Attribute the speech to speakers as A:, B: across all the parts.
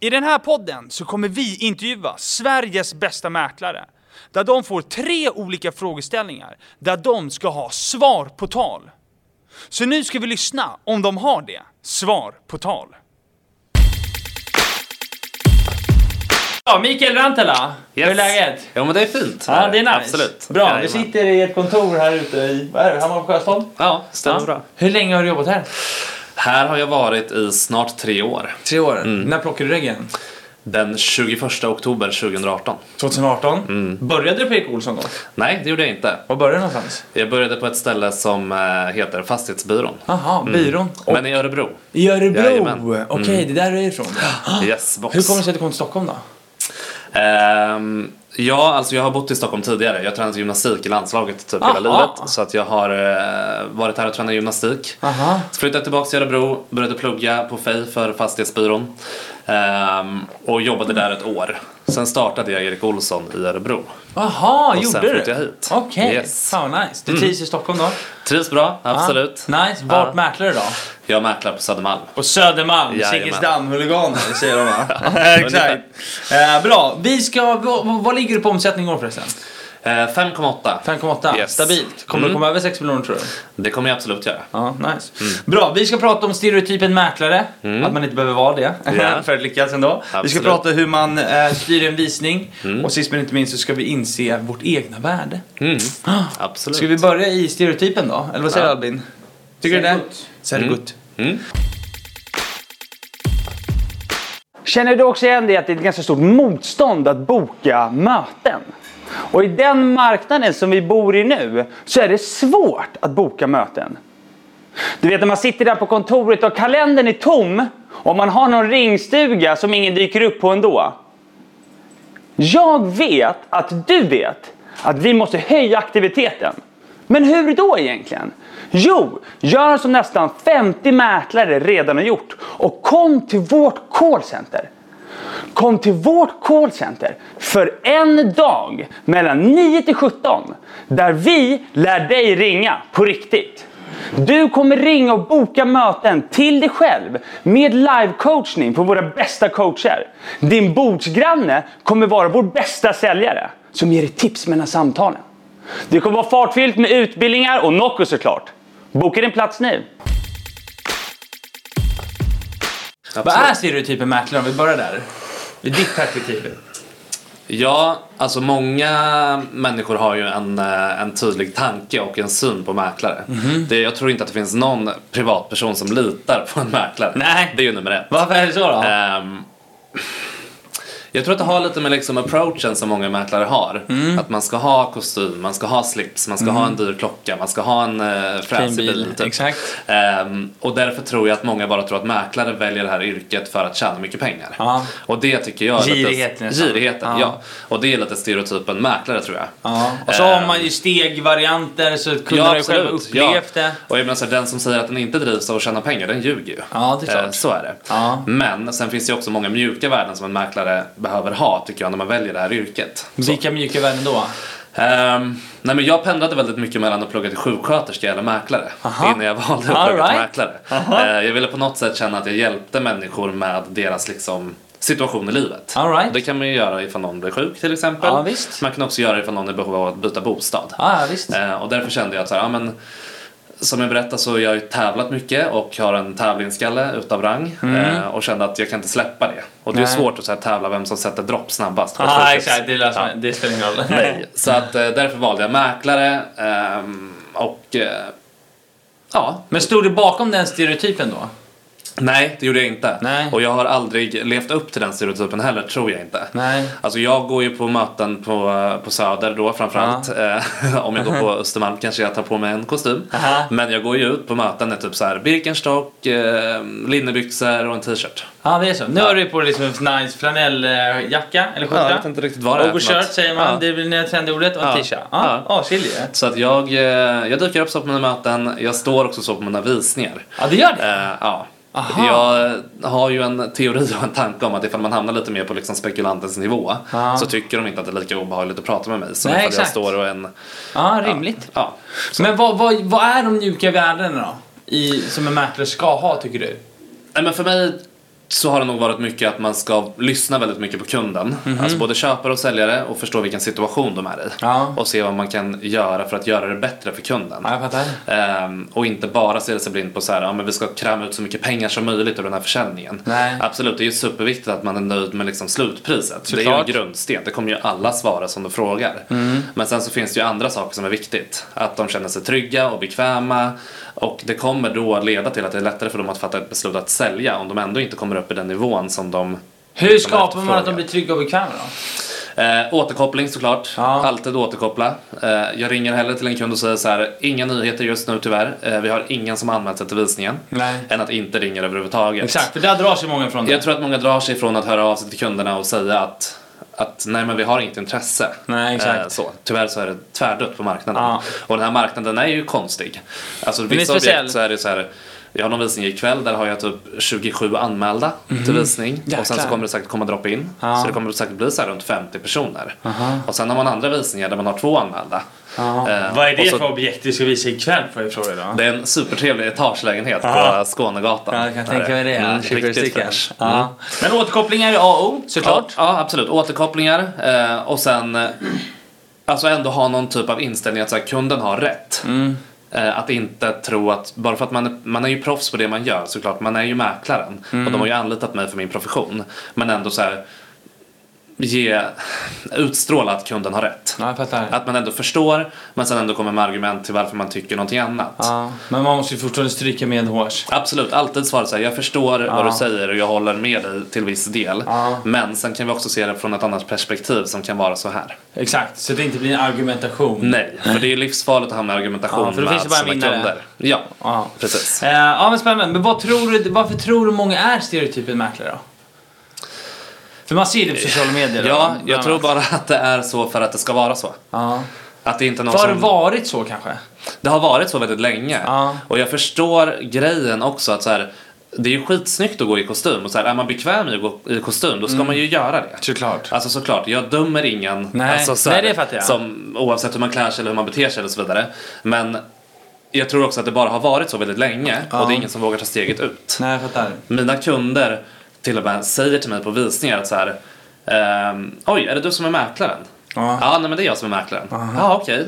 A: I den här podden så kommer vi intervjua Sveriges bästa mäklare. Där de får tre olika frågeställningar där de ska ha svar på tal. Så nu ska vi lyssna om de har det. Svar på tal. Ja, Mikael Rantala, hur är
B: Yes.
A: läget?
B: Ja men det är fint.
A: Ja, det är nice.
B: Absolut.
A: Bra, vi
B: Jajamän.
A: sitter i ett kontor här ute i vad är det, Hammar på Sjöstad.
B: Ja, stämmer
A: Ja.
B: bra.
A: Hur länge har du jobbat här?
B: Här har jag varit i snart tre år.
A: Tre år. När plockade du reggen?
B: Den 21 oktober 2018.
A: 2018. Började du på Erik Olsson då?
B: Nej, det gjorde jag inte.
A: Mm. Var började du någonstans?
B: Jag började på ett ställe som eh, heter Fastighetsbyrån.
A: Jaha, byrån. Mm. Och
B: Men i Örebro.
A: Mm. I Örebro!
B: Jajamän.
A: Okej, det där är du ifrån.
B: Yes, box.
A: Ah. Hur kommer det sig att du kom till Stockholm då?
B: Ehm, ja, alltså jag har bott i Stockholm tidigare. Jag har tränat gymnastik i landslaget typ hela
A: Aha.
B: livet. Så att jag har eh, varit här och tränat gymnastik.
A: Aha.
B: Så flyttade jag tillbaka till Örebro, började plugga på FEI för Fastighetsbyrån. Ehm, och jobbade där ett år. Sen startade jag Erik Olsson i Örebro.
A: Jaha,
B: Och
A: gjorde
B: sen
A: du?
B: flyttade jag hit.
A: Okej,
B: Yes.
A: fan vad nice. Du trivs i Stockholm då?
B: Trivs bra, absolut.
A: Ah, nice. Vart
B: Ja.
A: mäklare då?
B: Jag mäklar på Södermalm.
A: På Södermalm,
B: Jajamän.
A: Zinkensdamm-huliganer säger de va? Exakt. Eh, bra, vi ska, vad, vad ligger du på omsättning i år förresten?
B: Eh, 5,8.
A: 5,8,
B: Yes.
A: stabilt. Kommer du
B: Mm.
A: komma över 6 miljoner tror du?
B: Det kommer jag absolut göra.
A: Ja, nice.
B: Mm.
A: Bra, vi ska prata om stereotypen mäklare. Att man inte behöver vara det
B: Ja.
A: för att lyckas ändå. Vi ska
B: Absolut.
A: prata hur man eh, styr en visning. Och sist men inte minst så ska vi inse vårt egna värde.
B: Mm. Absolut.
A: Ah. Ska vi börja i stereotypen då? Eller vad säger
B: Ja.
A: Albin? Tycker du det? Ser det gott.
B: Mm.
A: Känner du också igen det att det är ett ganska stort motstånd att boka möten? Och i den marknaden som vi bor i nu så är det svårt att boka möten. Du vet när man sitter där på kontoret och kalendern är tom och man har någon ringstuga som ingen dyker upp på ändå. Jag vet att du vet att vi måste höja aktiviteten. Men hur då egentligen? Jo, gör som nästan 50 mäklare redan har gjort och kom till vårt callcenter. Kom till vårt callcenter för en dag mellan 9 till 17 där vi lär dig ringa på riktigt. Du kommer ringa och boka möten till dig själv med live-coachning på våra bästa coacher. Din bordsgranne kommer vara vår bästa säljare som ger dig tips mellan samtalen. Det kommer vara fartfyllt med utbildningar och Nocco såklart. Boka din plats nu.
B: Absolut.
A: Äh, stereotypen typ mäklare om vi börjar där? I ditt perspektiv.
B: Ja, alltså många människor har ju en, eh, en tydlig tanke och en syn på mäklare. Det, jag tror inte att det finns någon privatperson som litar på en mäklare.
A: Nej.
B: Det är ju nummer ett.
A: Varför är det så då?
B: Ehm, jag tror att det har lite med liksom approachen som många mäklare har.
A: Mm.
B: Att man ska ha kostym, man ska ha slips, man ska ha en dyr klocka, man ska ha en uh, fräsig
A: bil,
B: bil.
A: Mm. exakt.
B: Ehm, och därför tror jag att många bara tror att mäklare väljer det här yrket för att tjäna mycket pengar.
A: Ja.
B: Och det tycker jag är
A: Girigheten
B: lite...
A: nästan.
B: Girigheten.
A: Ja.
B: Ja. Och det är lite stereotypen mäklare tror jag.
A: Ja, och så har
B: Ehm,
A: man ju stegvarianter så kunderna har ju själva upplevt det.
B: och jag menar så här, den som säger att den inte drivs av att tjäna pengar, den ljuger ju.
A: Ja, det är klart.
B: Eh, Så är det.
A: Ja.
B: Men sen finns det ju också många mjuka värden som en mäklare behöver ha, tycker jag, när man väljer det här yrket.
A: Vilka mjuka värden då?
B: Ehm, nej men jag pendlade väldigt mycket mellan att plugga till sjuksköterska eller mäklare
A: Aha.
B: innan jag valde att
A: All
B: plugga till
A: right.
B: mäklare. Eh, jag ville på något sätt känna att jag hjälpte människor med deras liksom, situation i livet.
A: All right.
B: Det kan man ju göra ifall någon blir sjuk till exempel.
A: Ja, visst.
B: Man kan också göra det ifall någon är i behov av att byta bostad.
A: Ja, ja, visst.
B: Eh, och därför kände jag att så här, ja, men, som jag berättade så har jag ju tävlat mycket och har en tävlingsskalle utav rang eh, och kände att jag kan inte släppa det. Och det är
A: Mm. Nej.
B: svårt att så här, tävla vem som sätter dropp snabbast. på ett
A: ah,
B: sjukhus.
A: exakt. Det, löser,
B: Ja.
A: det spelar ingen roll.
B: Nej, så att eh, därför valde jag mäklare ehm, och eh, ja,
A: Men stod du bakom den stereotypen då?
B: nej det gjorde jag inte.
A: Nej.
B: Och jag har aldrig levt upp till den stereotypen heller, tror jag inte.
A: Nej.
B: Alltså jag går ju på möten på, eh, på Söder då framförallt. Eh, om jag går på Östermalm kanske jag tar på mig en kostym.
A: Aha.
B: Men jag går ju ut på möten med typ så här Birkenstock, eh, linnebyxor och en t-shirt.
A: Ja, det är så. Nu har du på dig liksom en nice flanelljacka eller skjorta.
B: Ja, jag vet inte riktigt vad det är för
A: Overshirt
B: något.
A: säger man.
B: Ja.
A: Det är väl det trendiga ordet. Och en
B: Ja.
A: t-shirt. Ja,
B: Ja.
A: avskiljer ju.
B: Så att jag, eh, jag dyker upp så på mina möten, jag står också så på mina visningar.
A: Ja, det gör det.
B: Eh, ja.
A: Aha.
B: Jag har ju en teori och en tanke om att ifall man hamnar lite mer på liksom spekulantens nivå
A: Ja.
B: så tycker de inte att det är lika obehagligt att prata med mig som
A: Nej,
B: ifall
A: exakt.
B: jag står och en...
A: Ja, rimligt.
B: Ja.
A: Men vad, vad, vad är de mjuka värdena då? I, som en mäklare ska ha, tycker du?
B: Nej, men för mig så har det nog varit mycket att man ska lyssna väldigt mycket på kunden.
A: Mhm.
B: Alltså både köpare och säljare och förstå vilken situation de är i.
A: Ja.
B: Och se vad man kan göra för att göra det bättre för kunden.
A: Ja, jag fattar.
B: Ehm, och inte bara stirra sig blind på så här, ja, men vi ska kräma ut så mycket pengar som möjligt ur den här försäljningen.
A: Nej.
B: Absolut, det är ju superviktigt att man är nöjd med liksom slutpriset. det är ju
A: Såklart.
B: en grundsten, det kommer ju alla svara som du frågar.
C: Mm.
B: Men sen så finns det ju andra saker som är viktigt. Att de känner sig trygga och bekväma och det kommer då leda till att det är lättare för dem att fatta ett beslut att sälja om de ändå inte kommer upp i den nivån som de
C: Hur skapar man att de
B: efterfrågar.
C: blir trygga och bekväma då?
B: Eh, återkoppling såklart.
A: Ja.
B: Alltid återkoppla. Eh, jag ringer hellre till en kund och säger så här, inga nyheter just nu tyvärr. Eh, vi har ingen som har anmält sig till visningen.
A: Nej.
B: Än att inte ringa överhuvudtaget.
C: Exakt, för där drar sig många från det.
B: Jag tror att många drar sig ifrån att höra av sig till kunderna och säga att att nej men vi har inget intresse.
A: Nej, exakt.
B: Eh, så. Tyvärr så är det tvärdött på marknaden.
A: Ja.
B: Och den här marknaden är ju konstig. Alltså
C: är
B: vissa
C: speciell.
B: objekt så är det så här. Jag har någon visning ikväll, där har jag typ 27 anmälda till visning. Och sen så
A: Mhm. Jäklar.
B: kommer det säkert komma drop-in.
A: Ja.
B: Så det kommer säkert bli så här runt 50 personer. Och sen har man andra visningar där man har två anmälda. Eh,
C: Vad är
B: och
C: det
B: så-
C: för objekt du ska visa ikväll får jag fråga då?
B: det är en supertrevlig etagelägenhet på Skånegatan.
A: Ja, jag kan tänka mig det.
B: Mm,
A: Mm,
B: riktigt fräsch. Mm.
A: Ja.
C: Men återkopplingar är A och O såklart.
B: Ja, ja absolut. Återkopplingar eh, och sen eh, alltså ändå ha någon typ av inställning att så här, kunden har rätt.
A: Mm.
B: Eh, att inte tro att, bara för att man, är- man är ju proffs på det man gör såklart, man är ju mäklaren
A: Mm.
B: och de har ju anlitat mig för min profession. Men ändå så här ge, utstråla att kunden har rätt.
A: ja, jag fattar.
B: Att man ändå förstår men sen ändå kommer med argument till varför man tycker någonting annat.
A: Ja.
C: Men man måste ju fortfarande stryka med hårs.
B: Absolut, alltid svara så här. Jag förstår vad du säger och jag håller med dig till viss del.
A: Ja.
B: Men sen kan vi också se det från ett annat perspektiv som kan vara så här.
C: Exakt, så det inte blir en argumentation.
B: Nej, för det är livsfarligt att hamna i argumentation
C: Ja, för då
B: med
C: finns det bara
B: sina
C: vinnare.
B: kunder. Ja,
C: Ja.
B: precis.
C: Eh, ja men spännande. Men vad tror du, varför tror du många är stereotypen mäklare då? För man ser det på sociala medier. då.
B: Eh, Ja,
C: Ja.
B: jag tror bara att det är så för att det ska vara så.
C: Ja.
B: Att det inte är någon
C: Har det
B: som...
C: varit så kanske?
B: Det har varit så väldigt länge.
C: Ja.
B: Och jag förstår grejen också att så här, det är ju skitsnyggt att gå i kostym och så här, är man bekväm i att gå i kostym då ska
C: Mm.
B: man ju göra det.
C: Såklart.
B: Alltså såklart, jag dömer ingen
C: Nej,
B: alltså, så
C: nej,
B: här,
C: det fattar jag.
B: Som, oavsett hur man klär sig eller hur man beter sig eller så vidare. Men jag tror också att det bara har varit så väldigt länge och det är ingen som vågar ta steget ut.
C: Nej, jag fattar.
B: Mina kunder till och med säger till mig på visningar att så här, ehm, oj är det du som är mäklaren?
C: Ja.
B: Ja, nej men det är jag som är mäklaren. Ja, okej.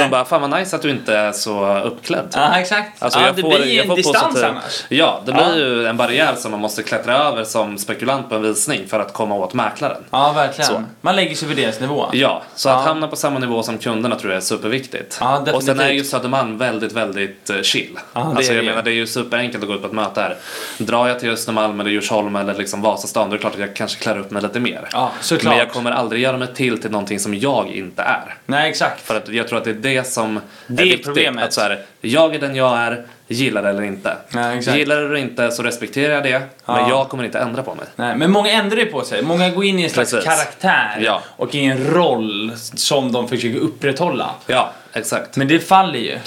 B: De bara, fan vad nice att du inte är så uppklädd.
C: Ja, exakt.
B: Alltså,
C: ja,
B: jag
C: det
B: får,
C: blir ju
B: jag
C: en
B: får
C: distans
B: positiv-
C: annars.
B: Ja, det blir
C: Ja.
B: ju en barriär som man måste klättra över som spekulant på en visning för att komma åt mäklaren.
C: Ja, verkligen.
B: Så.
C: Man lägger sig på deras nivå.
B: Ja, så att hamna på samma nivå som kunderna tror jag är superviktigt.
C: Ja, definitivt.
B: och sen är ju Södermalm väldigt, väldigt eh, chill.
C: det
B: alltså
C: är
B: jag
C: det.
B: menar det är ju superenkelt att gå ut på ett möte här. Drar jag till Östermalm eller Djursholm eller liksom Vasastan då är det klart att jag kanske klär upp mig lite mer.
C: Ja, såklart.
B: Men jag kommer aldrig göra mig till till någonting som jag inte är.
C: Nej, exakt.
B: För att jag tror att det är det som
C: Det är
B: viktigt.
C: problemet.
B: Att så här, jag är den jag är, gillar det eller inte.
C: Ja, exakt.
B: gillar det eller inte så respekterar jag det, men
C: Ja.
B: jag kommer inte ändra på mig.
C: Nej, men många ändrar ju på sig. Många går in i en slags
B: Precis.
C: karaktär
B: Ja.
C: och i en roll som de försöker upprätthålla.
B: Ja, exakt.
C: Men det faller ju.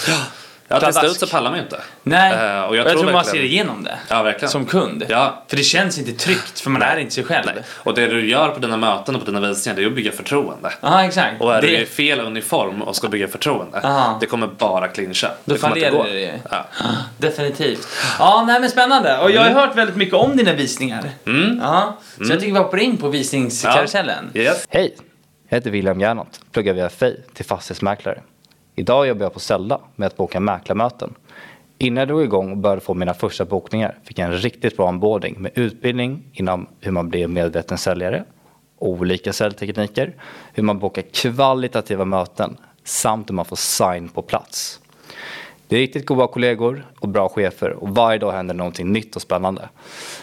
B: Ja, till
C: Pladask.
B: slut så pallar man ju inte.
C: Nej,
B: Eh,
C: och jag, tror, man ser
B: verkligen-
C: igenom det.
B: Ja, verkligen.
C: Som kund.
B: Ja.
C: För det känns inte tryggt, för man är inte sig själv.
B: Nej. Och det du gör på dina möten och på dina visningar det är att bygga förtroende.
C: Ja, exakt.
B: Och är
C: det,
B: du i fel uniform och ska bygga förtroende,
C: Aha.
B: det kommer bara clincha.
C: Då
B: det kommer
C: fallerar det ju.
B: Ja.
C: Definitivt. Ja, nej men spännande. Och jag
B: Mm.
C: har hört väldigt mycket om dina visningar. Ja, så jag tycker vi hoppar in på visningskarusellen.
B: Ja. Yes.
D: Hej! Jag heter William Gernandt, pluggar via FEI till fastighetsmäklare. Idag jobbar jag på Sella med att boka mäklarmöten. Innan jag drog igång och började få mina första bokningar fick jag en riktigt bra onboarding med utbildning inom hur man blir en medveten säljare, olika säljtekniker, hur man bokar kvalitativa möten samt hur man får sign på plats. Det är riktigt goda kollegor och bra chefer och varje dag händer någonting nytt och spännande.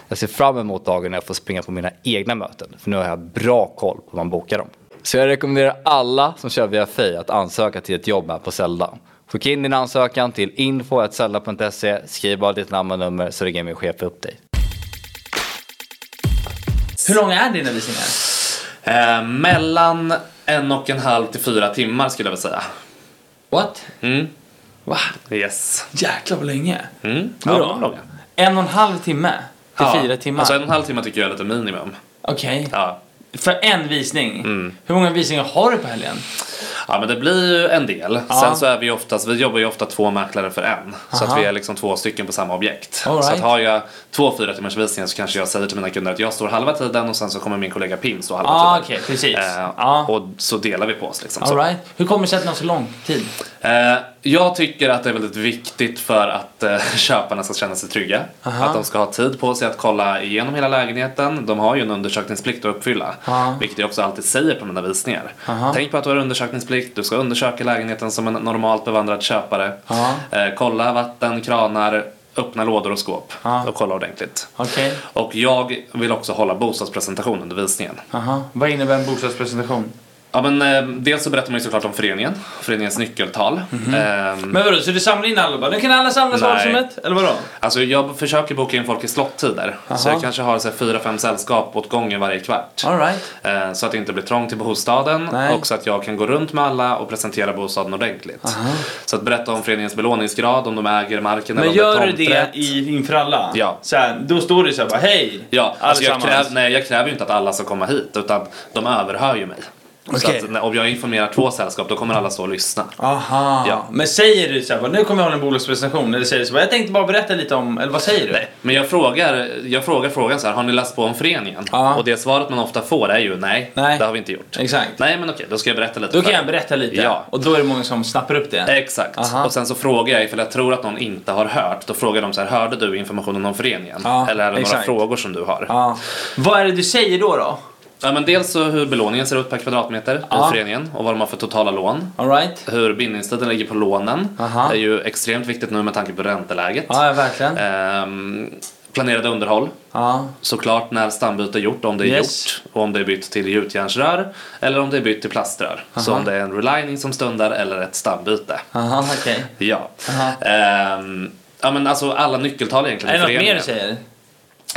D: Jag ser fram emot dagen när jag får springa på mina egna möten för nu har jag bra koll på hur man bokar dem. Så jag rekommenderar alla som kör via Fej att ansöka till ett jobb här på Zelda. Skicka in din ansökan till info.zelda.se, skriv bara ditt namn och nummer så ringer min chef upp dig.
C: Hur långa är dina visningar?
B: Eh, mellan en och en halv till fyra timmar skulle jag vilja säga.
C: What?
B: Mm.
C: Wow,
B: Yes.
C: jäklar vad länge.
B: Mm.
C: Vadå?
B: de var långa.
C: En och en halv timme till fyra timmar.
B: Alltså en och en halv timme tycker jag är lite minimum.
C: Okej.
B: Ja. Mm.
C: För en visning? Hur många visningar har du på helgen?
B: Ja typ. men det blir ju en del.
C: Ja.
B: Sen så är vi ju oftast, vi jobbar ju ofta två mäklare för en. Så
C: Aha.
B: att vi är liksom två stycken på samma objekt.
C: All
B: Så att
C: right.
B: har jag två fyra timmars visningar så kanske jag säger till mina kunder att jag står halva tiden och sen så kommer min kollega Pim stå halva
C: Ah,
B: tiden.
C: okej, precis.
B: Eh,
C: Ja.
B: Och så delar vi på oss liksom.
C: All
B: Så.
C: right. Hur kommer det sig att den har så lång tid?
B: Eh, jag tycker att det är väldigt viktigt för att eh, köparna ska känna sig trygga.
C: Aha.
B: Att de ska ha tid på sig att kolla igenom hela lägenheten. De har ju en undersökningsplikt att uppfylla.
C: Ja.
B: Vilket jag också alltid säger på mina visningar.
C: Aha.
B: Tänk på att du har undersökningsplikt. Du ska undersöka lägenheten som en normalt bevandrad köpare.
C: Ja.
B: Eh, kolla vatten, kranar, öppna lådor och skåp.
C: Ja.
B: Och kolla ordentligt.
C: Okej.
B: Och jag vill också hålla bostadspresentation under visningen.
C: Aha. Mm. Vad innebär en bostadspresentation?
B: Ja, men, eh, dels så berättar man ju såklart om föreningen, föreningens nyckeltal.
C: Mhm.
B: Ehm,
C: Men vadå, så du samlar in alla bara? Nu kan alla samlas i
B: Nej.
C: vardagsrummet? Eller vadå?
B: Alltså jag försöker boka in folk i slottider. Så jag kanske har så här, fyra, fem sällskap åt gången varje kvart.
C: All right.
B: Eh, Så att det inte blir trångt i bostaden
C: Nej.
B: och så att jag kan gå runt med alla och presentera bostaden ordentligt. Så att berätta om föreningens belåningsgrad, om de äger marken
C: Men
B: eller om
C: gör
B: är
C: du det
B: tomträtt.
C: i, inför alla?
B: Ja.
C: Så här, då står du så här bara hej!
B: Ja, alltså jag,
C: allesammans.
B: kräv, nej, jag kräver ju inte att alla ska komma hit utan de överhör ju mig. Så
C: Okej.
B: att, när- om jag informerar två sällskap då kommer alla stå och lyssna.
C: Aha.
B: Ja.
C: Men säger du så här, bara, nu kommer jag hålla en bolagspresentation? Eller säger du så bara, jag tänkte bara berätta lite om, eller vad säger du? Nej.
B: Men jag frågar, jag frågar frågan så här, har ni läst på om föreningen?
C: Ja.
B: Och det svaret man ofta får är ju nej,
C: Nej.
B: det har vi inte gjort.
C: Exakt.
B: Nej men okej, då ska jag berätta lite.
C: Då
B: för
C: kan jag
B: dig.
C: berätta lite.
B: Ja.
C: Och då är det många som snappar upp det.
B: Exakt.
C: Aha.
B: Och sen så frågar jag ifall jag tror att någon inte har hört. Då frågar de så här, hörde du informationen om föreningen?
C: Ja,
B: Eller är det
C: exakt.
B: några frågor som du har? Ja.
C: Ja. Vad är det du säger då? då?
B: men dels så hur belåningen ser ut per kvadratmeter
C: Ja.
B: i föreningen och vad de har för totala lån.
C: All right.
B: Hur bindningstiden ligger på lånen.
C: Aha.
B: är ju extremt viktigt nu med tanke på ränteläget.
C: Ja, ja, verkligen.
B: Ehm, planerade underhåll.
C: Ja.
B: Såklart när stambyte är gjort, om det är
C: Yes.
B: gjort och om det är bytt till gjutjärnsrör eller om det är bytt till plaströr. Så om det är en relining som stundar eller ett stambyte.
C: Aha, okej.
B: Ja.
C: Aha.
B: Ehm, ja men alltså alla nyckeltal egentligen
C: Är
B: i
C: det något mer
B: föreningen.
C: du säger?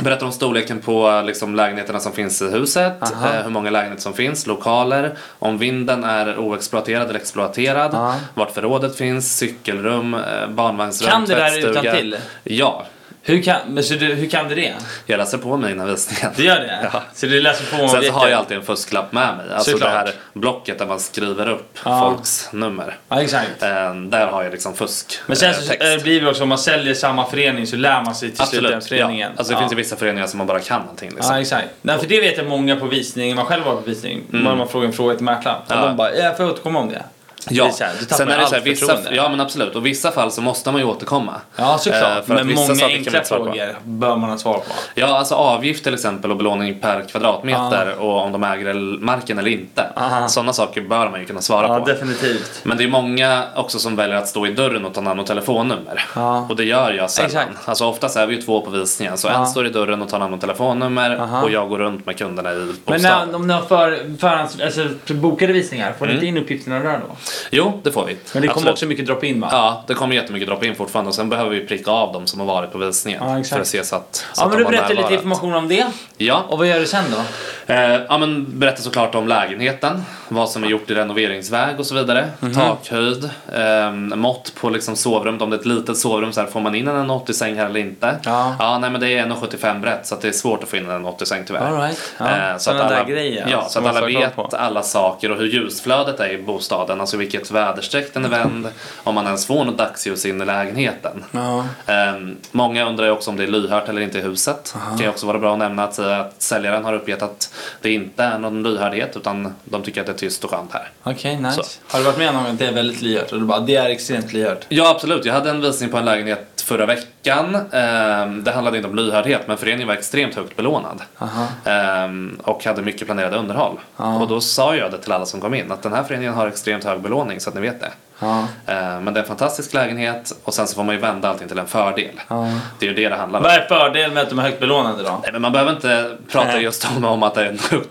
B: Berättar om storleken på liksom, lägenheterna som finns i huset,
C: Aha.
B: eh, hur många lägenheter som finns, lokaler, om vinden är oexploaterad eller exploaterad,
C: Ja.
B: vart förrådet finns, cykelrum, eh, barnvagnsrum,
C: Kan det där
B: tvättstuga.
C: utantill?
B: Ja,
C: Hur kan, men så du, hur kan du det?
B: jag läser på mig innan visningen.
C: Du gör det?
B: Ja.
C: Så du läser
B: Sen
C: på
B: så har jag
C: objektet?
B: alltid en fusklapp med mig. Alltså
C: Såklart.
B: det här blocket där man skriver upp
C: Ja.
B: folks nummer.
C: Ja, exakt.
B: Eh, där har jag liksom fusk
C: Men sen
B: eh,
C: så
B: text.
C: eh, blir det också, om man säljer samma förening så lär man sig till slut den
B: Absolut. Ja.
C: föreningen.
B: Alltså, det finns ju vissa föreningar som man bara kan någonting. Liksom.
C: Ja, exakt. Nej, för det vet jag många på visningen, man själv var på visning, mm. man frågar en fråga till mäklaren.
B: Ja.
C: Och De bara, jag får jag återkomma om det. Det
B: Ja,
C: är så här, du tappar
B: sen är det
C: allt
B: så här, vissa,
C: förtroende.
B: ja men absolut. Och vissa fall så måste man ju återkomma.
C: Ja, såklart.
B: Eh, för att
C: men
B: vissa
C: många
B: saker kan man
C: enkla
B: inte svara på.
C: frågor bör man ha svar på.
B: Ja, alltså avgift till exempel och belåning per kvadratmeter och om de äger el- marken eller inte.
C: Aha.
B: Sådana saker bör man ju kunna svara på.
C: definitivt.
B: Men det är många också som väljer att stå i dörren och ta namn och telefonnummer.
C: Ja.
B: Och det gör jag sällan.
C: Exakt.
B: Alltså oftast är vi ju två på visningen så en står i dörren och tar namn och telefonnummer
C: Aha.
B: och jag går runt med kunderna i
C: Men
B: bostaden.
C: när, om ni har för, förhands, alltså, bokade visningar, får ni inte in uppgifterna där då?
B: Jo, det får vi.
C: Men det kommer
B: Mm. Absolut.
C: också mycket drop-in va?
B: Ja, det kommer jättemycket drop-in fortfarande och sen behöver vi pricka av dem som har varit på visningen.
C: Ja, exakt.
B: för att se så att, så
C: Ja,
B: att de
C: men du
B: var
C: berättar lite
B: närvarande.
C: information om det.
B: Ja.
C: Och vad gör du sen då?
B: Eh, ja, men berätta såklart om lägenheten, vad som är gjort i renoveringsväg och så vidare.
C: Mhm.
B: Takhöjd, eh, mått på liksom sovrummet, om det är ett litet sovrum, så här, får man in en 80-säng här eller inte?
C: Ja.
B: nej, men det är 1,75 brett så att det är svårt att få in en 80-säng tyvärr.
C: All right. Ja,
B: Eh, så att
C: sådana
B: alla,
C: där grejer,
B: ja,
C: som
B: så att
C: man
B: alla
C: ska ha koll
B: vet
C: på.
B: alla saker och hur ljusflödet är i bostaden, alltså vilket väderstreck den är vänd, om man ens får något dagsljus in i lägenheten.
C: Mm. Ja.
B: Ehm, många undrar ju också om det är lyhört eller inte i huset. Det kan ju också vara bra att nämna att, eh, att säljaren har uppgett att det inte är någon lyhördhet utan de tycker att det är tyst och skönt här.
C: Okej,
B: Så.
C: nice. Har du varit med någon gång att det är väldigt lyhört? Och du bara, det är extremt lyhört.
B: Ja absolut, jag hade en visning på en lägenhet förra veckan. Ehm, det handlade inte om lyhördhet men föreningen var extremt högt belånad.
C: Aha.
B: Ehm, och hade mycket planerade underhåll.
C: Ja.
B: Och då sa jag det till alla som kom in att den här föreningen har extremt hög belåning så att ni vet det.
C: Ja.
B: Ehm, men det är en fantastisk lägenhet och sen så får man ju vända allting till en fördel.
C: Ja.
B: Det är ju det det handlar om.
C: Vad är fördelen med att de är högt belånade då?
B: Nej, men man behöver inte prata
C: Nej.
B: just om, om att det är en högt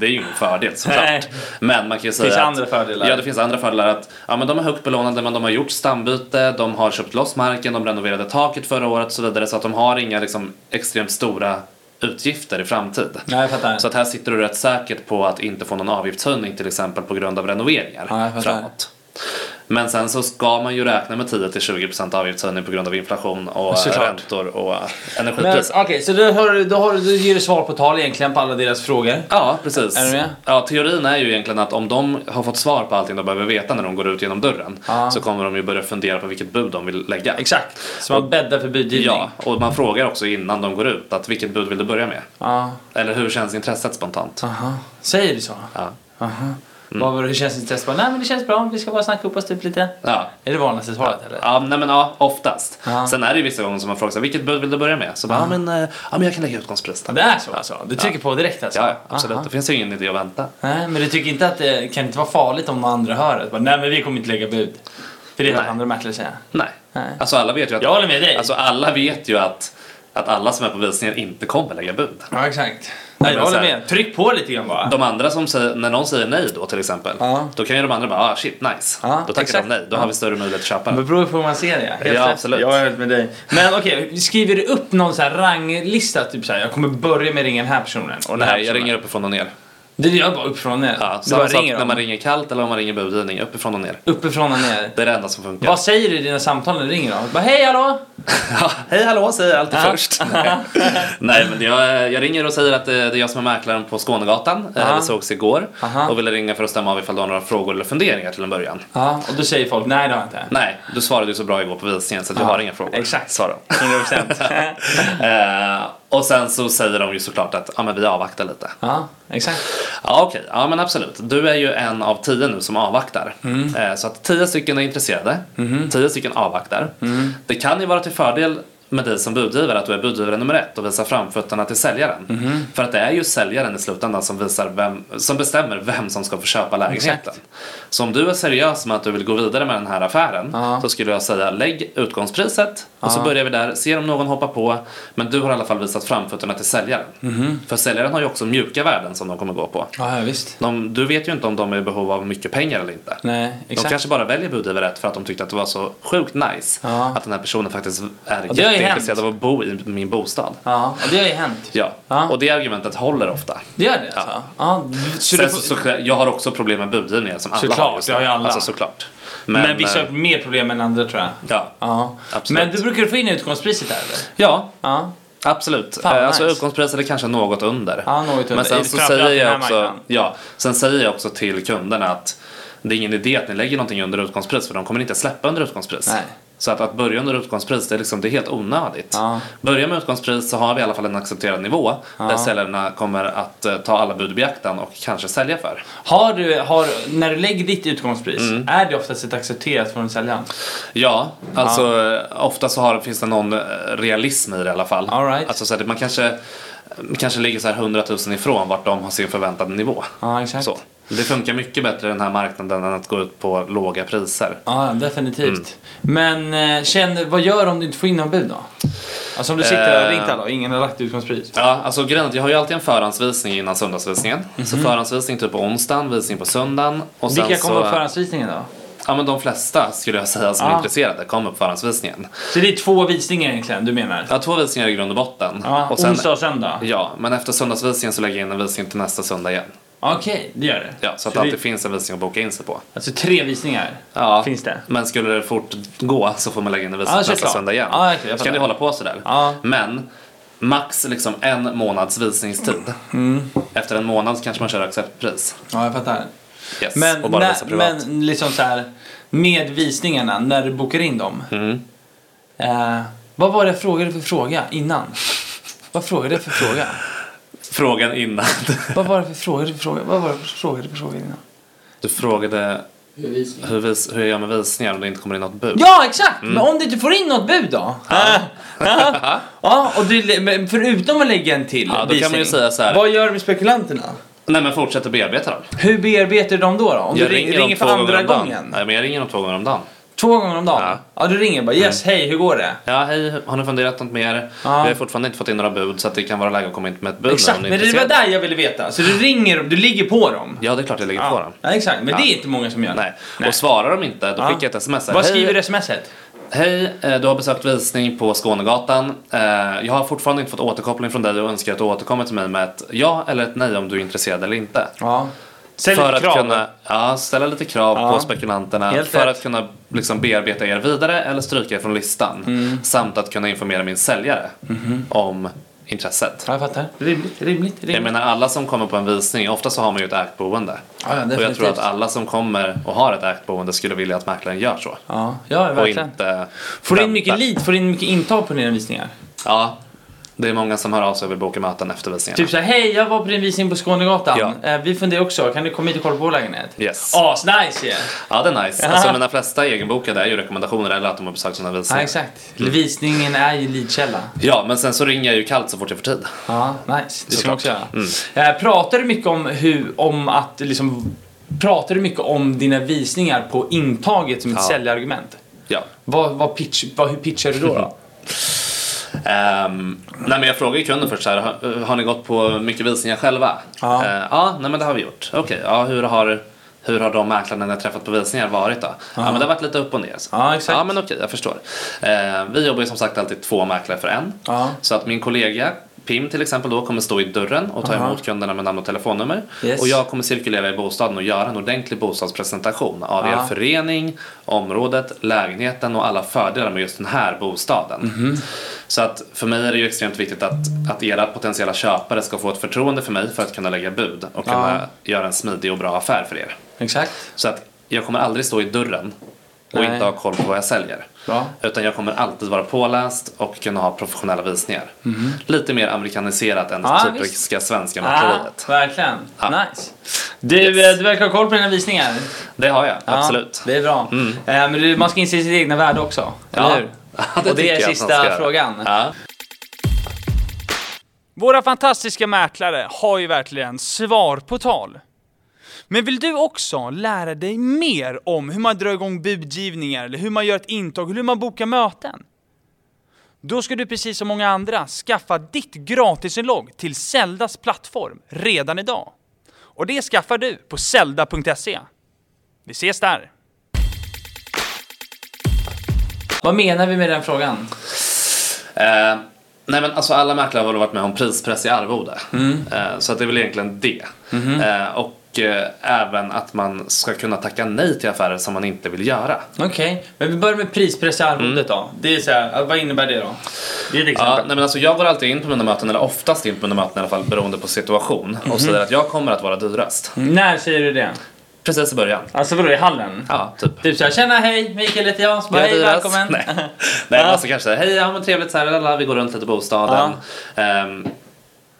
B: Det är ju ingen fördel
C: Nej.
B: såklart. Men man kan ju säga
C: finns
B: att,
C: andra fördelar.
B: Ja, det finns andra fördelar. Att, ja, men de är högt belånade men de har gjort stambyte, de har köpt loss marken, de renoverade taket förra året och så vidare. Så att de har inga liksom, extremt stora utgifter i framtid.
C: Nej, jag fattar.
B: Så att här sitter du rätt säkert på att inte få någon avgiftshöjning till exempel på grund av renoveringar
C: Ja, jag fattar.
B: framåt. Men sen så ska man ju räkna med 10-20% avgiftshöjning på grund av inflation och
C: Såklart.
B: räntor och
C: Men
B: energipriser.
C: okej, så då, har, då, har, då ger du svar på tal egentligen på alla deras frågor.
B: Ja, precis.
C: Är du med?
B: Ja, teorin är ju egentligen att om de har fått svar på allting de behöver veta när de går ut genom dörren
C: Ja.
B: så kommer de ju börja fundera på vilket bud de vill lägga.
C: Exakt. Så man bäddar för budgivning.
B: Ja, och man frågar också innan de går ut att vilket bud vill du börja med?
C: Ja.
B: Eller hur känns intresset spontant?
C: Aha. Säger du så?
B: Ja. Mm.
C: Aha. Vad var det, hur känns ditt test? Bara, Nej men det känns bra, vi ska bara snacka upp oss typ lite.
B: Ja.
C: Är det vanligaste svaret eller?
B: Ja, nej men ja, oftast.
C: Ja.
B: Sen är det ju vissa gånger som man frågar sig, vilket bud vill du börja med? Så bara, ja, men, eh, ja men jag kan lägga utgångspriset.
C: Ja, Det är så alltså? Du trycker på direkt alltså?
B: Ja, ja, absolut.
C: Aha.
B: Det finns ju ingen idé att vänta.
C: Nej, men du tycker inte att det kan inte vara farligt om de andra hör det? Bara, Nej men vi kommer inte lägga bud. För det är vad
B: Nej.
C: andra mäklare säger.
B: Nej.
C: Nej.
B: Alltså alla vet ju att,
C: Jag håller med dig.
B: alltså, alla, vet ju att, att alla som är på visningen inte kommer lägga bud.
C: Ja exakt. Nej, jag håller med. Tryck på lite grann bara.
B: De andra som säger, när någon säger nej då till exempel,
C: Ja.
B: då kan ju de andra bara ah, shit nice.
C: Ja,
B: då tackar
C: exakt.
B: de nej, då har vi större möjlighet att köpa
C: Det
B: den.
C: beror ju på hur man ser det. Helt
B: Ja,
C: rätt.
B: absolut.
C: Jag är helt med dig. Men okej, skriver du upp någon så här ranglista? Typ så här, jag kommer börja med att ringa den här personen. Och den här
B: Nej, jag
C: personen.
B: ringer uppifrån och ner.
C: Det gör jag bara uppifrån och ner.
B: Ja,
C: Du
B: samma
C: bara
B: sak
C: ringer
B: när man
C: dem.
B: ringer kallt eller om man ringer budgivning, uppifrån och ner.
C: Uppifrån och ner.
B: Det är det enda som funkar.
C: Vad säger du i dina samtal när du ringer dem? Bara hej hallå?
B: Ja, hej hallå säger jag alltid först. Nej men jag, jag ringer och säger att eh, det, det är jag som är mäklaren på Skånegatan. Eh,
C: Aha.
B: Vi sågs igår
C: Aha.
B: och ville ringa för att stämma av ifall du har några frågor eller funderingar till en början.
C: Ja, och då säger folk nej det har jag inte.
B: Nej, du svarade ju så bra igår på visningen så att jag har inga frågor.
C: Exakt.
B: Sa de.
C: 100%.
B: Eh, och sen så säger de ju såklart att ja, men vi avvaktar lite.
C: ja, exakt.
B: Ja okej, ja men absolut. Du är ju en av tio nu som avvaktar. Eh, Så att tio stycken är intresserade, tio stycken avvaktar. Det kan ju vara till fördel med dig som budgivare att du är budgivare nummer ett och visar framfötterna till säljaren. För att det är ju säljaren i slutändan som, visar vem, som bestämmer vem som ska få köpa lägenheten.
C: Exakt.
B: Så om du är seriös med att du vill gå vidare med den här affären
C: Ja.
B: så skulle jag säga lägg utgångspriset och så börjar vi där, ser om någon hoppar på men du har i alla fall visat framfötterna till säljaren.
C: Mhm.
B: För säljaren har ju också mjuka värden som de kommer gå på.
C: Ja, ja, visst.
B: De, du vet ju inte om de är i behov av mycket pengar eller inte.
C: Nej,
B: De
C: exakt.
B: kanske bara väljer budgivare rätt för att de tyckte att det var så sjukt nice
C: Ja.
B: att den här personen faktiskt är
C: det har ju
B: jätteintresserad
C: hänt.
B: av att bo i min bostad.
C: Ja, och det har ju hänt.
B: Ja,
C: Ja.
B: och det argumentet håller ofta.
C: Det gör det alltså? Ja. så
B: Sen
C: du får-
B: så, så, jag har också problem med budgivningar som alla
C: Såklart,
B: har. just
C: det
B: nu.
C: har ju alla.
B: Alltså, såklart.
C: men, vissa
B: eh,
C: har mer problem än andra tror jag.
B: Ja,
C: Ja.
B: Absolut.
C: Men du brukar få in utgångspriset där eller?
B: ja
C: Ja.
B: Absolut.
C: Fan,
B: Eh, alltså
C: nice.
B: utgångspriset är kanske något under.
C: Ja, något under.
B: Men sen så
C: Framförallt
B: säger
C: i den här
B: jag också,
C: marknaden.
B: ja, sen säger jag också till kunderna att det är ingen idé att ni lägger någonting under utgångspris för de kommer inte släppa under utgångspris.
C: Nej.
B: Så att, att börja under utgångspris det är, liksom, det är helt onödigt.
C: Ja.
B: Börja med utgångspris så har vi i alla fall en accepterad nivå där säljarna kommer att eh, ta alla bud i beaktan och kanske sälja för.
C: Har du, har, när du lägger ditt utgångspris,
B: Mm.
C: är det oftast ett accepterat från säljaren?
B: Ja, alltså eh, ofta så har, finns det någon eh, realism i det i alla fall.
C: All right.
B: Alltså så att man kanske, kanske ligger så här 100 000 ifrån vart de har sin förväntade nivå.
C: Ja, exakt.
B: Så. Det funkar mycket bättre i den här marknaden än att gå ut på låga priser.
C: Ja,
B: Mm.
C: definitivt. Men eh, känn, vad gör du om du inte får in någon bud då? Alltså om du sitter där och
B: Eh.
C: ringt alla och ingen har lagt utgångspris.
B: Ja, alltså grejen är att jag har ju alltid en förhandsvisning innan söndagsvisningen. Så förhandsvisning typ på onsdagen, visning på söndagen. Och sen
C: Mhm. Vilka kommer
B: så,
C: på förhandsvisningen då?
B: Ja men de flesta skulle jag säga som
C: Ja.
B: är intresserade kom upp förhandsvisningen.
C: Så det är två visningar egentligen du menar?
B: Jag har två visningar i grund och botten.
C: Ja,
B: och sen,
C: onsdag och söndag?
B: Ja, men efter söndagsvisningen så lägger jag in en visning till nästa söndag igen.
C: Okej, det gör det.
B: Ja, så att
C: det
B: det alltid finns en visning att boka in sig på.
C: Alltså tre visningar
B: Ja.
C: finns det.
B: Men skulle det fort gå så får man lägga in en visning
C: Ja,
B: nästa
C: såklart.
B: söndag igen.
C: Ja, okej, jag
B: kan
C: fattar.
B: det hålla på sådär.
C: Ja.
B: Men max liksom en månads visningstid.
C: Mm.
B: Efter en månad kanske man kör acceptpris.
C: Ja, jag fattar.
B: Yes.
C: Men,
B: och bara
C: när-
B: visa privat.
C: men liksom så här, med visningarna, när du bokar in dem.
B: Mm.
C: Eh, vad var det jag frågade för fråga innan? Vad frågade jag för fråga?
B: Frågan innan.
C: Vad var det för fråga för fråga? Vad var det för fråga för fråga innan?
B: Du frågade hur, vis, hur jag gör med visningar om det inte kommer in något bud.
C: Ja, exakt!
B: Mm.
C: Men om du inte får in något bud då? Ja, och du, men förutom att lägga en till
B: Ja, då kan man ju säga så här.
C: Vad gör du med spekulanterna?
B: Nej men fortsätter bearbeta dem.
C: Hur bearbetar du dem då? då? Om du ring-
B: dem
C: ringer för
B: två gånger
C: andra
B: om dagen.
C: gången?
B: Nej men jag ringer dem två gånger om dagen.
C: Två gånger om dagen? Ja,
B: Ja. Mm.
C: du ringer bara yes, hej, hur går det?
B: Ja hej, har ni funderat något mer?
C: Ja.
B: Vi har fortfarande inte fått in några bud så att det kan vara läge att komma in med ett bud
C: Exakt,
B: om ni
C: men
B: är
C: det var
B: intresserade.
C: där jag ville veta. Så du ringer dem, du ligger på dem.
B: Ja det är klart jag lägger på dem.
C: Ja, exakt. Men
B: Ja.
C: det är inte många som gör.
B: Nej. Och svarar de inte, då
C: Ja.
B: skickar jag ett sms. här,
C: Vad
B: "Hej,
C: skriver du i smset?
B: Hej, eh, du har besökt visning på Skånegatan. Eh, Jag har fortfarande inte fått återkoppling från dig och önskar att du återkommer till mig med ett ja eller ett nej om du är intresserad eller inte.
C: Ja.
A: Ställ
B: för
A: lite
B: att
A: krav,
B: kunna ja, ställa lite krav
A: Ja.
B: på spekulanterna
C: Helt
B: för
C: rätt.
B: att kunna liksom bearbeta er vidare eller stryka er från listan.
C: Mm.
B: Samt att kunna informera min säljare
C: Mhm.
B: om intresset.
C: Ja, jag fattar. Rimligt, rimligt,
B: Jag
C: rimligt.
B: menar alla som kommer på en visning, ofta så har man ju ett ägt boende.
C: Ja, ja,
B: och jag
C: definitivt.
B: tror att alla som kommer och har ett ägt boende skulle vilja att mäklaren gör så.
C: Ja, ja
B: Och
C: verkligen.
B: inte
C: Får du
B: vänta.
C: in mycket lead? Får du in mycket intag på dina visningar?
B: Ja, det är många som hör av sig och vill boka möten efter visningarna.
C: Typ såhär, hej jag var på din visning på Skånegatan.
B: Ja.
C: Eh, vi funderar också, kan du komma hit och kolla på vår lägenhet?
B: Yes.
C: Asnice ju!
B: Ja, det är nice. Alltså mina flesta egenbokade är ju rekommendationer eller att de har besökt sådana
C: Ja
B: visningar.
C: exakt. Visningen är ju leadkälla.
B: Ja, men sen så ringer jag ju kallt så fort jag får tid.
C: Ja, nice. Det ska man
B: Såklart. Mm.
C: också göra. Eh, pratar du mycket om hur, om att liksom, pratar du mycket om dina visningar på intaget som ett
B: Ja.
C: säljargument?
B: Ja.
C: Vad, vad pitch, vad, hur pitchar du
B: Mm.
C: då? då?
B: Ehm, nej men jag frågar ju kunden först så här, har, har ni gått på mycket visningar själva?
C: Ja.
B: Eh, ja, nej men det har vi gjort. Okej, ja hur har, hur har de mäklarna ni har träffat på visningar varit då? Ja men det har varit lite upp och ner.
C: Ja, exakt.
B: Ja men okej, jag förstår. Eh, vi jobbar ju som sagt alltid två mäklare för en.
C: Ja.
B: Så att min kollega Pim till exempel då kommer stå i dörren och ta emot kunderna med namn och telefonnummer.
C: Yes.
B: Och jag kommer cirkulera i bostaden och göra en ordentlig bostadspresentation av
C: Ja.
B: er förening, området, lägenheten och alla fördelar med just den här bostaden.
C: Mhm.
B: Så att för mig är det ju extremt viktigt att, att era potentiella köpare ska få ett förtroende för mig för att kunna lägga bud och kunna göra en smidig och bra affär för er.
C: Exakt.
B: Så att jag kommer aldrig stå i dörren och
C: Nej.
B: inte ha koll på vad jag säljer.
C: Bra.
B: Utan jag kommer alltid vara påläst och kunna ha professionella visningar. Lite mer amerikaniserat än det
C: Mhm. Ja,
B: typiska svenska
C: Ah,
B: mäkleriet.
C: verkligen.
B: Ja.
C: Nice. Du, eh, du verkar ha koll på dina visningar.
B: Det har jag,
C: Ja,
B: absolut. Mm.
C: Det är bra. Eh, Men du, man ska inse sitt egna värde också, eller hur?
B: det
C: Och det
B: tycker
C: är
B: jag att man ska
C: sista
B: göra.
C: frågan.
B: Ja.
A: Våra fantastiska mäklare har ju verkligen svar på tal. Men vill du också lära dig mer om hur man drar igång budgivningar, eller hur man gör ett intag, eller hur man bokar möten? Då ska du precis som många andra skaffa ditt gratisinlogg till Zeldas plattform redan idag. Och det skaffar du på zelda.se. Vi ses där!
C: Vad menar vi med den frågan?
B: Eh, nej men alltså alla mäklare har väl varit med om prispress i arvode.
C: Mm.
B: Eh, så att det är väl egentligen det.
C: Mm-hmm.
B: Eh, och eh, även att man ska kunna tacka nej till affärer som man inte vill göra.
C: Okej, men vi börjar med prispress i arvodet
B: Mm.
C: då. Det är så här, vad innebär det då? Det är ett
B: Ja,
C: exempel.
B: nej men alltså jag går alltid in på mina möten, eller oftast in på mina möten i alla fall beroende på situation
C: Mm-hmm.
B: och säger att jag kommer att vara dyrast.
C: När säger du det?
B: Precis i början.
C: Alltså vadå, i hallen?
B: Ja, typ.
C: Typ såhär, tjena hej, Mikael heter jag. Så bara,
B: Jag är
C: hej,
B: dyrast.
C: välkommen.
B: Nej, nej men alltså kanske så här, hej, ja men trevligt så här, lala, vi går runt lite i bostaden. Ehm,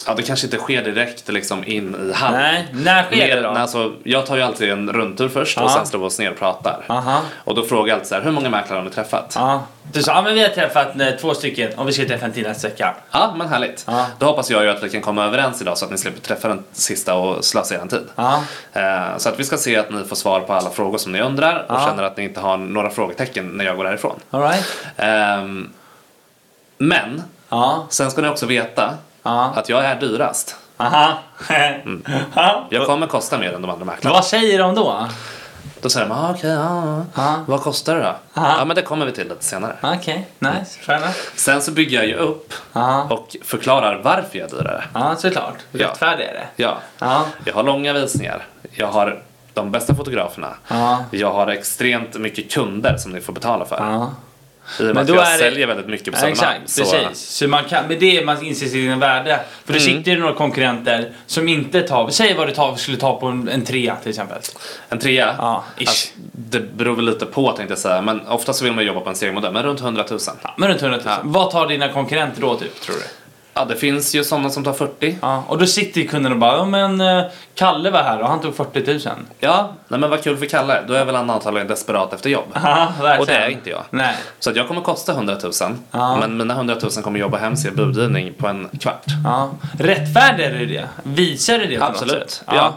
B: ja, det kanske inte sker direkt liksom in i hallen.
C: Nej, när sker det
B: Mer,
C: då?
B: när, alltså, jag tar ju alltid en rundtur först
C: Ja.
B: och sen slår vi oss ner och pratar.
C: Aha.
B: Och då frågar jag alltid så här, hur många mäklare har ni träffat? Ja,
C: Ja. Du sa, ja men vi har träffat eh, två stycken och vi ska träffa en till nästa vecka.
B: men härligt.
C: Ja.
B: Då hoppas jag ju att vi kan komma överens idag så att ni slipper träffa den sista och slösa er tid.
C: Ja.
B: Eh, Så att vi ska se att ni får svar på alla frågor som ni undrar och
C: Ja.
B: känner att ni inte har några frågetecken när jag går härifrån.
C: Alright.
B: Ehm, Men
C: Ja.
B: sen ska ni också veta
C: Ja.
B: att jag är dyrast.
C: Aha.
B: Mm.
C: Ja.
B: Jag kommer kosta mer än de andra mäklarna.
C: Vad säger de då?
B: Då säger de, ah, okej, ja,
C: Ja.
B: ja. vad kostar det då?
C: Ja.
B: Ja, men det kommer vi till lite senare.
C: Okej, nice. Fair enough.
B: Sen så bygger jag ju upp
C: Ja.
B: och förklarar varför jag är dyrare.
C: Ja, såklart.
B: Ja.
C: Rättfärdig är det.
B: Ja,
C: Ja.
B: jag har långa visningar. Jag har de bästa fotograferna.
C: Ja.
B: Jag har extremt mycket kunder som ni får betala för.
C: ja.
B: I och med
C: Men
B: att
C: då
B: jag
C: är det-
B: säljer väldigt mycket på
C: Ja,
B: Södermalm.
C: exakt,
B: så- Mm.
C: precis. Så man kan, med det man inser sin värde. För det sitter ju några konkurrenter som inte tar, säg vad du tar, skulle ta på en, en trea till exempel.
B: En trea?
C: Ja, ish.
B: Alltså, det beror väl lite på tänkte jag säga. Men ofta så vill man jobba på en seriemodell. Men runt 100 000. Ja.
C: Men runt 100 000. Vad tar dina konkurrenter då typ, tror du?
B: det finns ju sådana som tar 40.
C: Ja, och då sitter ju kunden och bara, ja men eh, Kalle var här och han tog 40 000.
B: Ja, nej, men vad kul för Kalle. Då är väl han antagligen desperat efter jobb.
C: Ja, verkligen.
B: Och det är inte jag.
C: Nej.
B: Så att jag kommer kosta 100 000.
C: Ja.
B: Men mina 100 000 kommer jobba hem sin budgivning på en kvart.
C: Ja. Rättfärdig är det det? Visar du det på något
B: Absolut.
C: sätt?
B: Ja.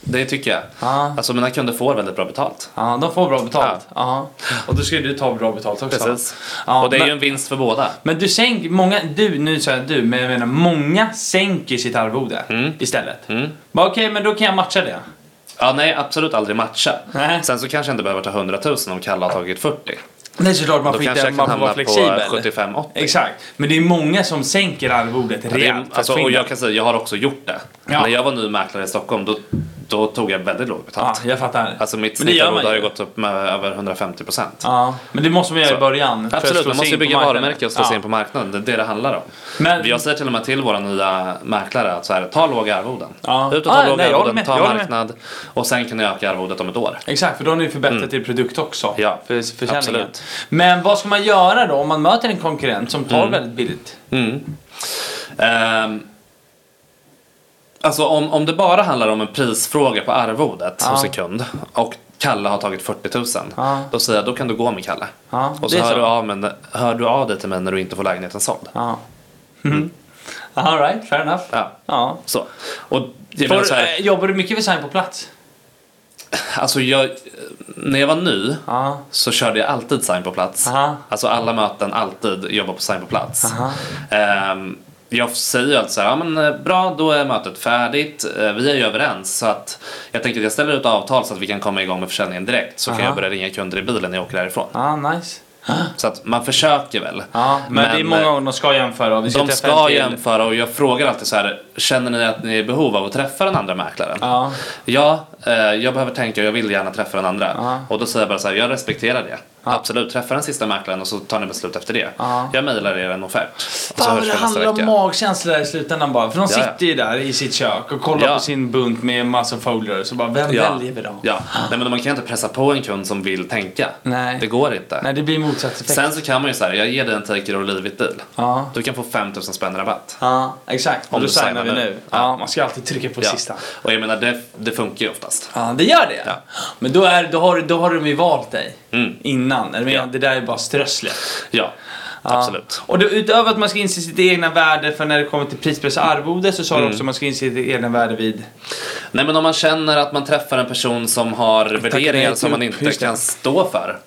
B: det tycker jag.
C: Ja.
B: Alltså mina kunder får väldigt bra betalt.
C: Ja, de får bra betalt. Ja. Och då ska ju du ta bra betalt också.
B: Precis.
C: Ja,
B: och det är
C: men-
B: ju en vinst för båda.
C: Men du sänker, många, du, nu säger jag du, men jag menar många sänker sitt arvode istället. Mm. Okej, men då kan jag matcha det.
B: Ja, nej, absolut aldrig matcha.
C: Nej.
B: Sen så kanske jag inte behöver ta 100 000 om Kalle har tagit 40.
C: Nej såklart, man
B: Då
C: får,
B: kanske
C: inte,
B: jag
C: man
B: kan
C: får vara
B: hamna på
C: flexibel.
B: 75-80.
C: Exakt, men det är många som sänker arvodet
B: Det är-
C: rejält. för att
B: Alltså,
C: få in
B: och
C: det.
B: jag kan säga, jag har också gjort det.
C: Ja.
B: När jag var ny mäklare i Stockholm, då då tog jag väldigt lågt
C: Ja,
B: betalt.
C: jag fattar.
B: Alltså mitt
C: Men det gör man
B: snittarvode har ju
C: ju.
B: gått upp med över 150 procent.
C: Ja, men det måste man göra i början. för att slå
B: Absolut,
C: sig
B: man måste ju
C: in på
B: bygga
C: marknaden.
B: varumärke och slå sig
C: Ja.
B: in på marknaden. Det är det det handlar om.
C: Men-
B: jag säger till och med till våra nya mäklare att så här, ta låga arvoden.
C: Ja.
B: Ut och ta
C: Ah,
B: låga
C: nej, jag håller
B: arvoden,
C: med,
B: ta
C: jag håller med.
B: marknad och sen kan ni öka arvodet om ett år.
C: Exakt, för då har ni förbättrat er produkt också.
B: Mm. Ja,
C: för försäljningen.
B: absolut.
C: Men vad ska man göra då om man möter en konkurrent som
B: Mm.
C: tar väldigt billigt?
B: Ehm, alltså om, om det bara handlar om en prisfråga på arvodet
C: Ja.
B: hos en kund och Kalle har tagit 40 000.
C: Ja.
B: Då säger jag, då kan du gå med Kalle.
C: Ja,
B: och
C: det
B: så
C: är
B: hör
C: så.
B: du, av, men, hör du av dig till mig när du inte får lägenheten såld.
C: Ja. Mm. All right, fair enough.
B: Ja.
C: Ja.
B: Så. Och jag menar
C: Får,
B: så här,
C: eh, jobbar du mycket design på plats?
B: Alltså jag, när jag var ny
C: Ja.
B: så körde jag alltid sign på plats.
C: Aha.
B: Alltså alla möten, alltid jobba på sign på plats.
C: Aha.
B: Ehm, jag säger ju alltid så här, ja, men eh, bra då är mötet färdigt, Eh, vi är ju överens så att jag tänker att jag ställer ut avtal så att vi kan komma igång med försäljningen direkt så kan
C: Aha.
B: jag börja ringa kunder i bilen när jag åker härifrån.
C: Ja, nice.
B: Så att man försöker väl.
C: Ja, men, det är många
B: eh,
C: gånger de ska jämföra. Och vi ska
B: de
C: träffa
B: ska
C: en till.
B: jämföra och jag frågar alltid så här, känner ni att ni är i behov av att träffa den andra mäklaren?
C: Ja.
B: Ja, eh, jag behöver tänka och jag vill gärna träffa den andra.
C: Ja.
B: Och då säger jag bara så här, jag respekterar det. Absolut, träffa den sista mäklaren och så tar ni beslut efter det.
C: Ja.
B: Jag mejlar er en offert. Och så hörs
C: Fan vad
B: vi
C: det
B: nästa
C: handlar om
B: vecka.
C: magkänsla där i slutändan bara. För de
B: Ja, ja.
C: sitter ju där i sitt kök och kollar
B: Ja.
C: på sin bunt med massa folier. Så bara, vem
B: Ja,
C: väljer vi då?
B: ja. Nej, men man kan inte pressa på en kund som vill tänka.
C: Nej.
B: Det går inte.
C: Nej, det blir motsatseffekt.
B: Sen så kan man ju säga, jag ger dig en take it or leave it deal.
C: Ja.
B: Du kan få 5000 spänn rabatt.
C: Ja, exakt.
B: Om
C: Och då
B: du
C: signar vi
B: signar
C: nu.
B: nu.
C: Ja.
B: Ja,
C: man ska alltid trycka på
B: Ja.
C: sista.
B: Och jag menar, det, det funkar ju oftast.
C: Ja, det gör det?
B: Ja.
C: Men då, är, då, har, då har de ju valt dig
B: Mm.
C: innan. Eller, men,
B: Ja.
C: Det där är bara strösslet.
B: Ja,
C: Ja.
B: absolut.
C: Och då, utöver att man ska inse sitt egna värde för när det kommer till prispress och arvode så sa
B: Mm.
C: du också att man ska inse sitt egna värde vid...
B: Nej men om man känner att man träffar en person som har värderingar
C: till
B: som man
C: upp,
B: inte
C: just det. Mm.
B: kan stå för.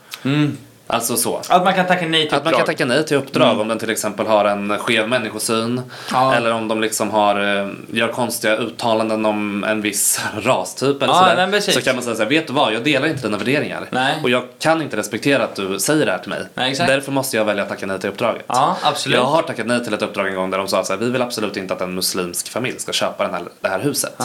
B: Alltså så.
C: Att man kan tacka nej till
B: Att man kan
C: uppdrag.
B: tacka nej till uppdrag
C: Mm.
B: om den till exempel har en skev människosyn.
C: Ja.
B: Eller om de liksom har, eh, gör konstiga uttalanden om en viss rastyp eller
C: Ja,
B: sådär.
C: men precis.
B: så kan man säga såhär, vet du vad? Jag delar inte dina värderingar.
C: Nej.
B: Och jag kan inte respektera att du säger det här till mig.
C: Nej, exakt.
B: Därför måste jag välja att tacka nej till uppdraget.
C: Ja, absolut.
B: Jag har tackat nej till ett uppdrag en gång där de sa att vi vill absolut inte att en muslimsk familj ska köpa den här, det här huset.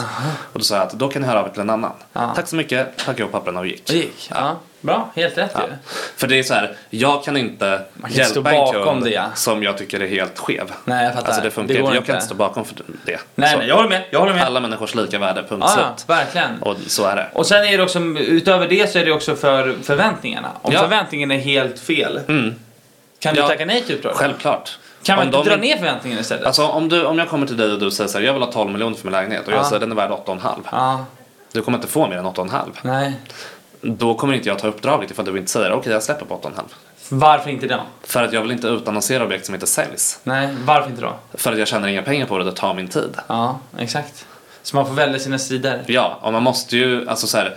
B: Och då sa jag att då kan ni höra av er till en annan.
C: Ja.
B: Tack så mycket, packade ihop papperna och gick.
C: Det gick. Ja. Bra, helt rätt ju.
B: För det är så här, jag kan inte
C: Man kan inte stå
B: hjälpa en
C: bakom
B: kund
C: det, ja.
B: som jag tycker är helt skev.
C: Nej, jag fattar.
B: Alltså det
C: Det
B: funkar
C: går
B: inte. Jag
C: inte.
B: kan inte stå bakom för det.
C: Nej,
B: Så.
C: nej, jag håller med. Jag håller med.
B: Alla människors lika värde, punkt
C: Ja,
B: slut.
C: verkligen.
B: Och så är det.
C: Och sen är det också, utöver det så är det också för förväntningarna. Om
B: Ja. Mm.
C: förväntningen är helt fel, kan du
B: Ja.
C: tacka nej till uppdraget?
B: Självklart.
C: Kan man
B: Om
C: inte
B: de
C: dra
B: inte-
C: ner förväntningarna istället?
B: Alltså om, du, om jag kommer till dig och du säger så här, jag vill ha 12 miljoner för min lägenhet och jag
C: Ja.
B: säger den är värd 8,5.
C: ja,
B: Du kommer inte få mer än 8,5.
C: nej.
B: Då kommer inte jag ta uppdraget ifall du inte säger okej jag släpper på 8,5.
C: Varför inte då?
B: För att jag vill inte utannonsera objekt som inte säljs.
C: Nej, varför inte då?
B: För att jag tjänar inga pengar på det, det tar min tid.
C: Ja, exakt. Så man får välja sina strider.
B: Ja, och man måste ju, alltså så här,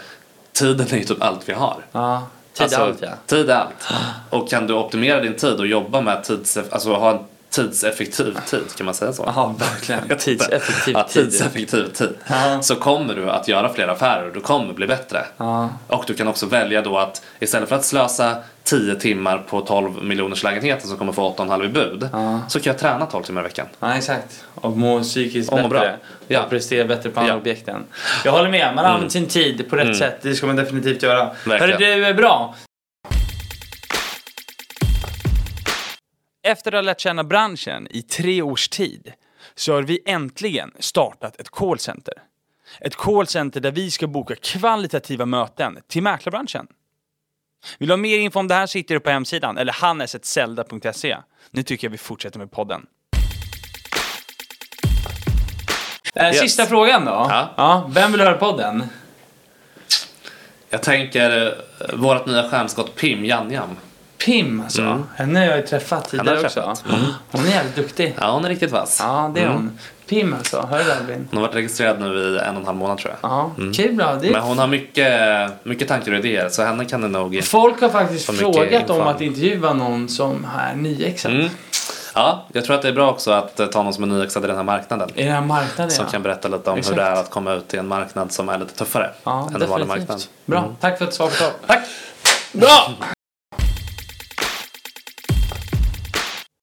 B: tiden är ju typ allt vi har.
C: Ja, tid
B: alltså,
C: allt ja.
B: Tid är allt. Och kan du optimera din tid och jobba med tids, alltså ha en tidseffektiv tid, kan man säga så?
C: Ja, verkligen. Tidseffektiv
B: ja,
C: tid.
B: tidseffektiv tid.
C: Ja.
B: Så kommer du att göra fler affärer och du kommer bli bättre.
C: Ja.
B: Och du kan också välja då att istället för att slösa 10 timmar på 12 miljoners lägenheten som kommer få 8,5 i bud
C: Ja.
B: så kan jag träna 12 timmar i veckan.
C: Ja, exakt. Och må psykiskt
B: Och må
C: bättre.
B: bra. Ja.
C: Och prestera bättre på andra
B: Ja. Mm.
C: objekten. Jag håller med, man använder sin tid på rätt sätt. Det ska man definitivt göra. Hörru
B: Verkligen.
C: du, är bra. Efter att ha lärt känna branschen i tre års tid så har vi äntligen startat ett callcenter. Ett callcenter där vi ska boka kvalitativa möten till mäklarbranschen. Vill du ha mer info om det här så hittar du på hemsidan eller hannesetzelda.se. Nu tycker jag vi fortsätter med podden. Eh,
B: Yes.
C: Sista frågan då.
B: Ja.
C: vem vill höra podden?
B: Jag tänker eh, vårt nya stjärnskott Pim Janjam.
C: Pim alltså. Henne har jag ju träffat
B: har
C: tidigare
B: jag
C: också.
B: träffat.
C: Hon är jävligt duktig.
B: Ja, hon är riktigt vass.
C: Ja, det är hon. Pim alltså. Hör du Albin?
B: Hon har varit registrerad nu i en och en halv månad tror jag.
C: Ja, kul bra. Det
B: Men hon har mycket, mycket tankar och idéer så henne kan det nog...
C: Folk har faktiskt
B: Vad mycket
C: frågat
B: info.
C: om att intervjua någon som är nyexad.
B: Mm. Ja, jag tror att det är bra också att eh, ta någon som är nyexad i den här marknaden.
C: I den här marknaden
B: Som
C: ja.
B: kan berätta lite om
C: Exakt.
B: hur det är att komma ut i en marknad som är lite tuffare
C: Ja,
B: än en vanlig marknad.
C: definitivt. Bra. Tack för att du svarade på Tack. Bra!